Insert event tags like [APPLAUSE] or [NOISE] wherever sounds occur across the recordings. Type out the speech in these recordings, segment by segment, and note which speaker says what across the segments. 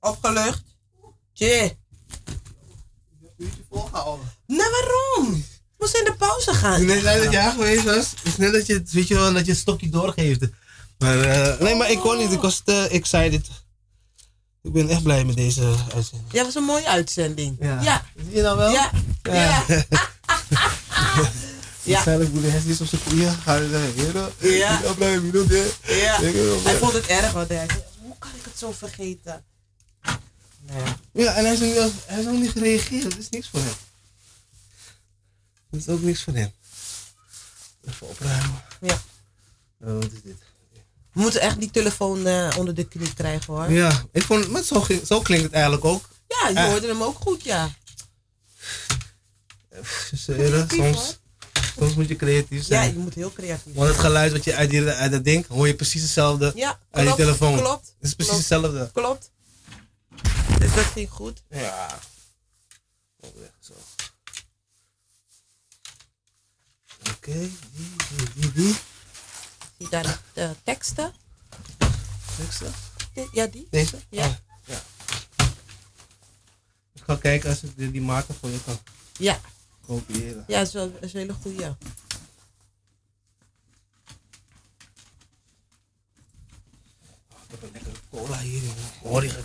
Speaker 1: Opgelucht. Tje.
Speaker 2: uurtje volgehouden.
Speaker 1: Nou, waarom? We moesten in de pauze gaan.
Speaker 2: Net dat je haar geweest was, is net dat je, het- weet je wel, dat je het stokje doorgeeft. Maar, eh, nee, maar ik kon niet. Ik was te excited. Ik ben echt blij met deze uitzending.
Speaker 1: Ja, was een mooie uitzending.
Speaker 2: Ja.
Speaker 1: Ja.
Speaker 2: Zie je nou wel?
Speaker 1: Ja. Ja.
Speaker 2: [LAUGHS]
Speaker 1: Ja.
Speaker 2: Waarschijnlijk moet de hest op zijn knieën gaan en zeggen,
Speaker 1: Ja.
Speaker 2: Ja. blijven, wie doet dit?
Speaker 1: ja.
Speaker 2: Ik wil wel.
Speaker 1: Hij vond het erg, want hij zei, hoe kan ik het zo vergeten? Nou ja.
Speaker 2: Ja, en hij is, nog niet, hij is nog niet gereageerd. Dat is niks voor hem. Dat is ook niks voor hem. Even opruimen.
Speaker 1: Ja.
Speaker 2: Oh, wat is dit?
Speaker 1: We moeten echt die telefoon eh, onder de knie krijgen, hoor.
Speaker 2: Ja, ik vond, maar zo, ging- zo klinkt het eigenlijk ook.
Speaker 1: Ja, je
Speaker 2: Ah.
Speaker 1: hoorde hem ook goed, ja.
Speaker 2: Dus, eh, eerder,
Speaker 1: Creatief,
Speaker 2: soms, soms moet je creatief
Speaker 1: Ja,
Speaker 2: zijn.
Speaker 1: je moet heel creatief
Speaker 2: Want
Speaker 1: zijn.
Speaker 2: het geluid wat je uit, die, uit dat ding hoor je precies hetzelfde.
Speaker 1: Ja,
Speaker 2: Aan je
Speaker 1: klopt,
Speaker 2: telefoon.
Speaker 1: klopt,
Speaker 2: Het is precies
Speaker 1: klopt,
Speaker 2: hetzelfde.
Speaker 1: klopt. Dus dat ging goed.
Speaker 2: Ja. Ook weg, zo. Oké, die, die, die, die.
Speaker 1: Zie je daar de eh, teksten?
Speaker 2: Teksten.
Speaker 1: Dit- Ja, die?
Speaker 2: Deze?
Speaker 1: Ja.
Speaker 2: Ah, ja. Ik ga kijken als ik die, die maker voor je kan
Speaker 1: Ja,
Speaker 2: kopiëren.
Speaker 1: ja dat is wel dat is een hele goede. Ja.
Speaker 2: Ik heb een lekkere cola hier, jongen. Hoor je het?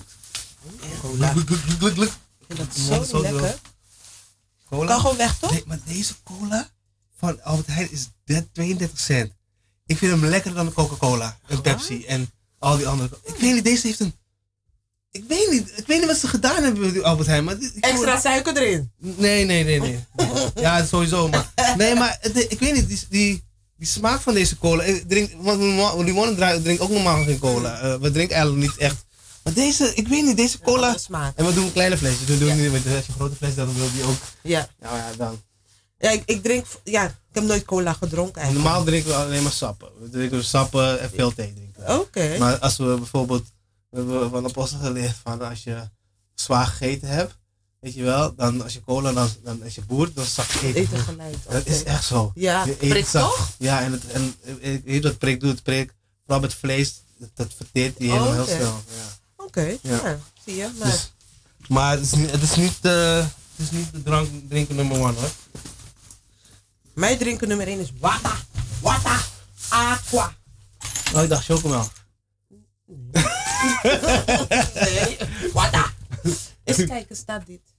Speaker 1: Cola. Ik
Speaker 2: Gluk, gluk, gluk, gluk, gluk.
Speaker 1: vind dat
Speaker 2: Ja,
Speaker 1: zo
Speaker 2: zo
Speaker 1: lekker. Kan
Speaker 2: Cola?
Speaker 1: gewoon weg, toch?
Speaker 2: Nee, maar deze cola van Albert Heijn is de- 32 cent. Ik vind hem lekkerder dan de Coca-Cola en Pepsi en al die andere. Ik weet niet, deze heeft een... Ik weet niet, ik weet niet wat ze gedaan hebben met die Albert Heijn, maar... dit- ik hoor-
Speaker 1: Extra suiker erin.
Speaker 2: Nee, nee, nee, nee. Ja, sowieso. Maar, nee, maar het- ik weet niet, die, die, die smaak van deze cola. Ik drink, want mijn ma- die mannen drinken drinkt ook normaal geen cola. Eh, we drinken eigenlijk niet echt. Maar deze, ik weet niet, deze cola.
Speaker 1: Andere smaak.
Speaker 2: En we doen een kleine flesje. We doen
Speaker 1: Ja.
Speaker 2: niet met de als je een grote fles, dan wil die ook.
Speaker 1: Ja,
Speaker 2: Nou ja, dan.
Speaker 1: ja ik, ik drink... Ja, ik heb nooit cola gedronken
Speaker 2: En
Speaker 1: eigenlijk.
Speaker 2: normaal drinken we alleen maar sappen. We drinken sappen en veel thee drinken. we.
Speaker 1: Oh, Oké.
Speaker 2: Maar als we bijvoorbeeld, we hebben van de apostel geleerd van als je zwaar gegeten hebt, weet je wel, dan als je cola, dan, dan als je boert, dan zak je eten.
Speaker 1: Eten geleid.
Speaker 2: Dat is echt zo.
Speaker 1: Ja,
Speaker 2: Je eet
Speaker 1: prik
Speaker 2: zak-
Speaker 1: toch?
Speaker 2: Ja, en, het, en eh, eh, weet je wat prik doet? Prik, vooral met vlees, dat- dat verteert die helemaal
Speaker 1: Oh,
Speaker 2: heel
Speaker 1: oké.
Speaker 2: snel. Ja.
Speaker 1: Oké,
Speaker 2: Ja.
Speaker 1: ja. Zie je? Maar,
Speaker 2: Dus, maar het is, niet- het is niet, eh, het is niet de drank, drinken nummer one hoor.
Speaker 1: Mijn drinken nummer 1 is water. Water. Aqua.
Speaker 2: Oh, ik dacht chocomel. [LAUGHS]
Speaker 1: Nee, wat Eens kijken, staat dit?